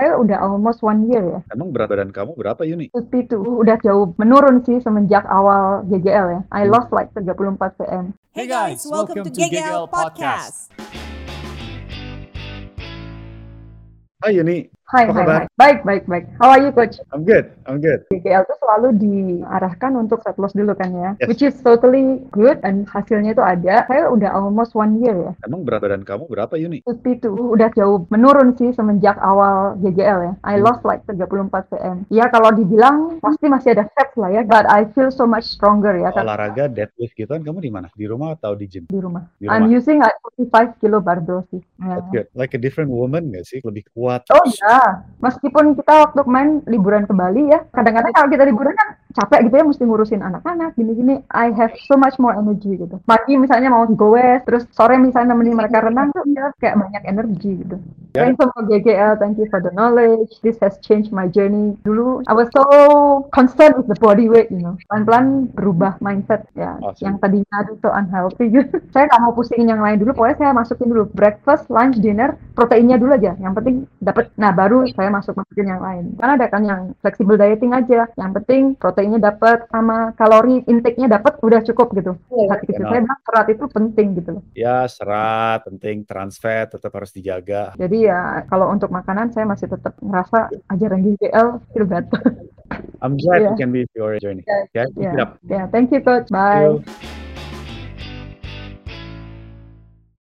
udah almost one year ya. Emang berat badan kamu berapa Yuni? 52 udah jauh menurun sih semenjak awal GGL ya. I lost like 34 cm. Hey guys, welcome to GGL Podcast. Hai Ah, Yuni, Hai, Apa hai, kabar? hai. Baik, baik, baik. How are you coach? I'm good, I'm good. GGL tuh selalu diarahkan untuk fat loss dulu kan ya. Yes. Which is totally good and hasilnya itu ada. Saya udah almost one year ya. Emang berat badan kamu berapa Yuni? 52 udah jauh menurun sih semenjak awal GGL ya. I Hmm. lost like 34 cm. Ya kalau dibilang pasti masih ada fat lah ya, but I feel so much stronger ya kan Olahraga deadlift gitu kan kamu di mana? Di rumah atau di gym? di rumah. Di I'm rumah. using like 45 kilo barbell sih. Ya. That's good. Like a different woman gak sih? Lebih kuat. Oh ya, meskipun kita waktu main liburan ke Bali ya, kadang-kadang kalau kita liburan kan capek gitu ya, mesti ngurusin anak-anak, gini-gini. I have so much more energy gitu. Pagi misalnya mau goes, terus sore misalnya nemenin mereka renang tuh ya, kayak banyak energi gitu. Ya. Thanks for GGL, thank you for the knowledge. This has changed my journey. Dulu I was so concerned with the body weight, you know. Pelan-pelan berubah mindset ya, Awesome. yang tadinya aduh so unhealthy gitu saya nggak mau pusingin yang lain dulu pokoknya saya masukin dulu breakfast lunch dinner proteinnya dulu aja yang penting dapat nah baru saya masuk masukin yang lain karena ada kan yang flexible dieting aja yang penting proteinnya dapat sama kalori intake-nya dapat udah cukup gitu hati kecil saya bilang serat itu penting gitu loh Ya serat, penting, trans fat tetap harus dijaga. jadi ya kalau untuk makanan saya masih tetap ngerasa ajaran GGL feel better I'm glad Iya. we can be your journey. Iya, Ya, keep it ya up. ya thank you coach Thank bye you.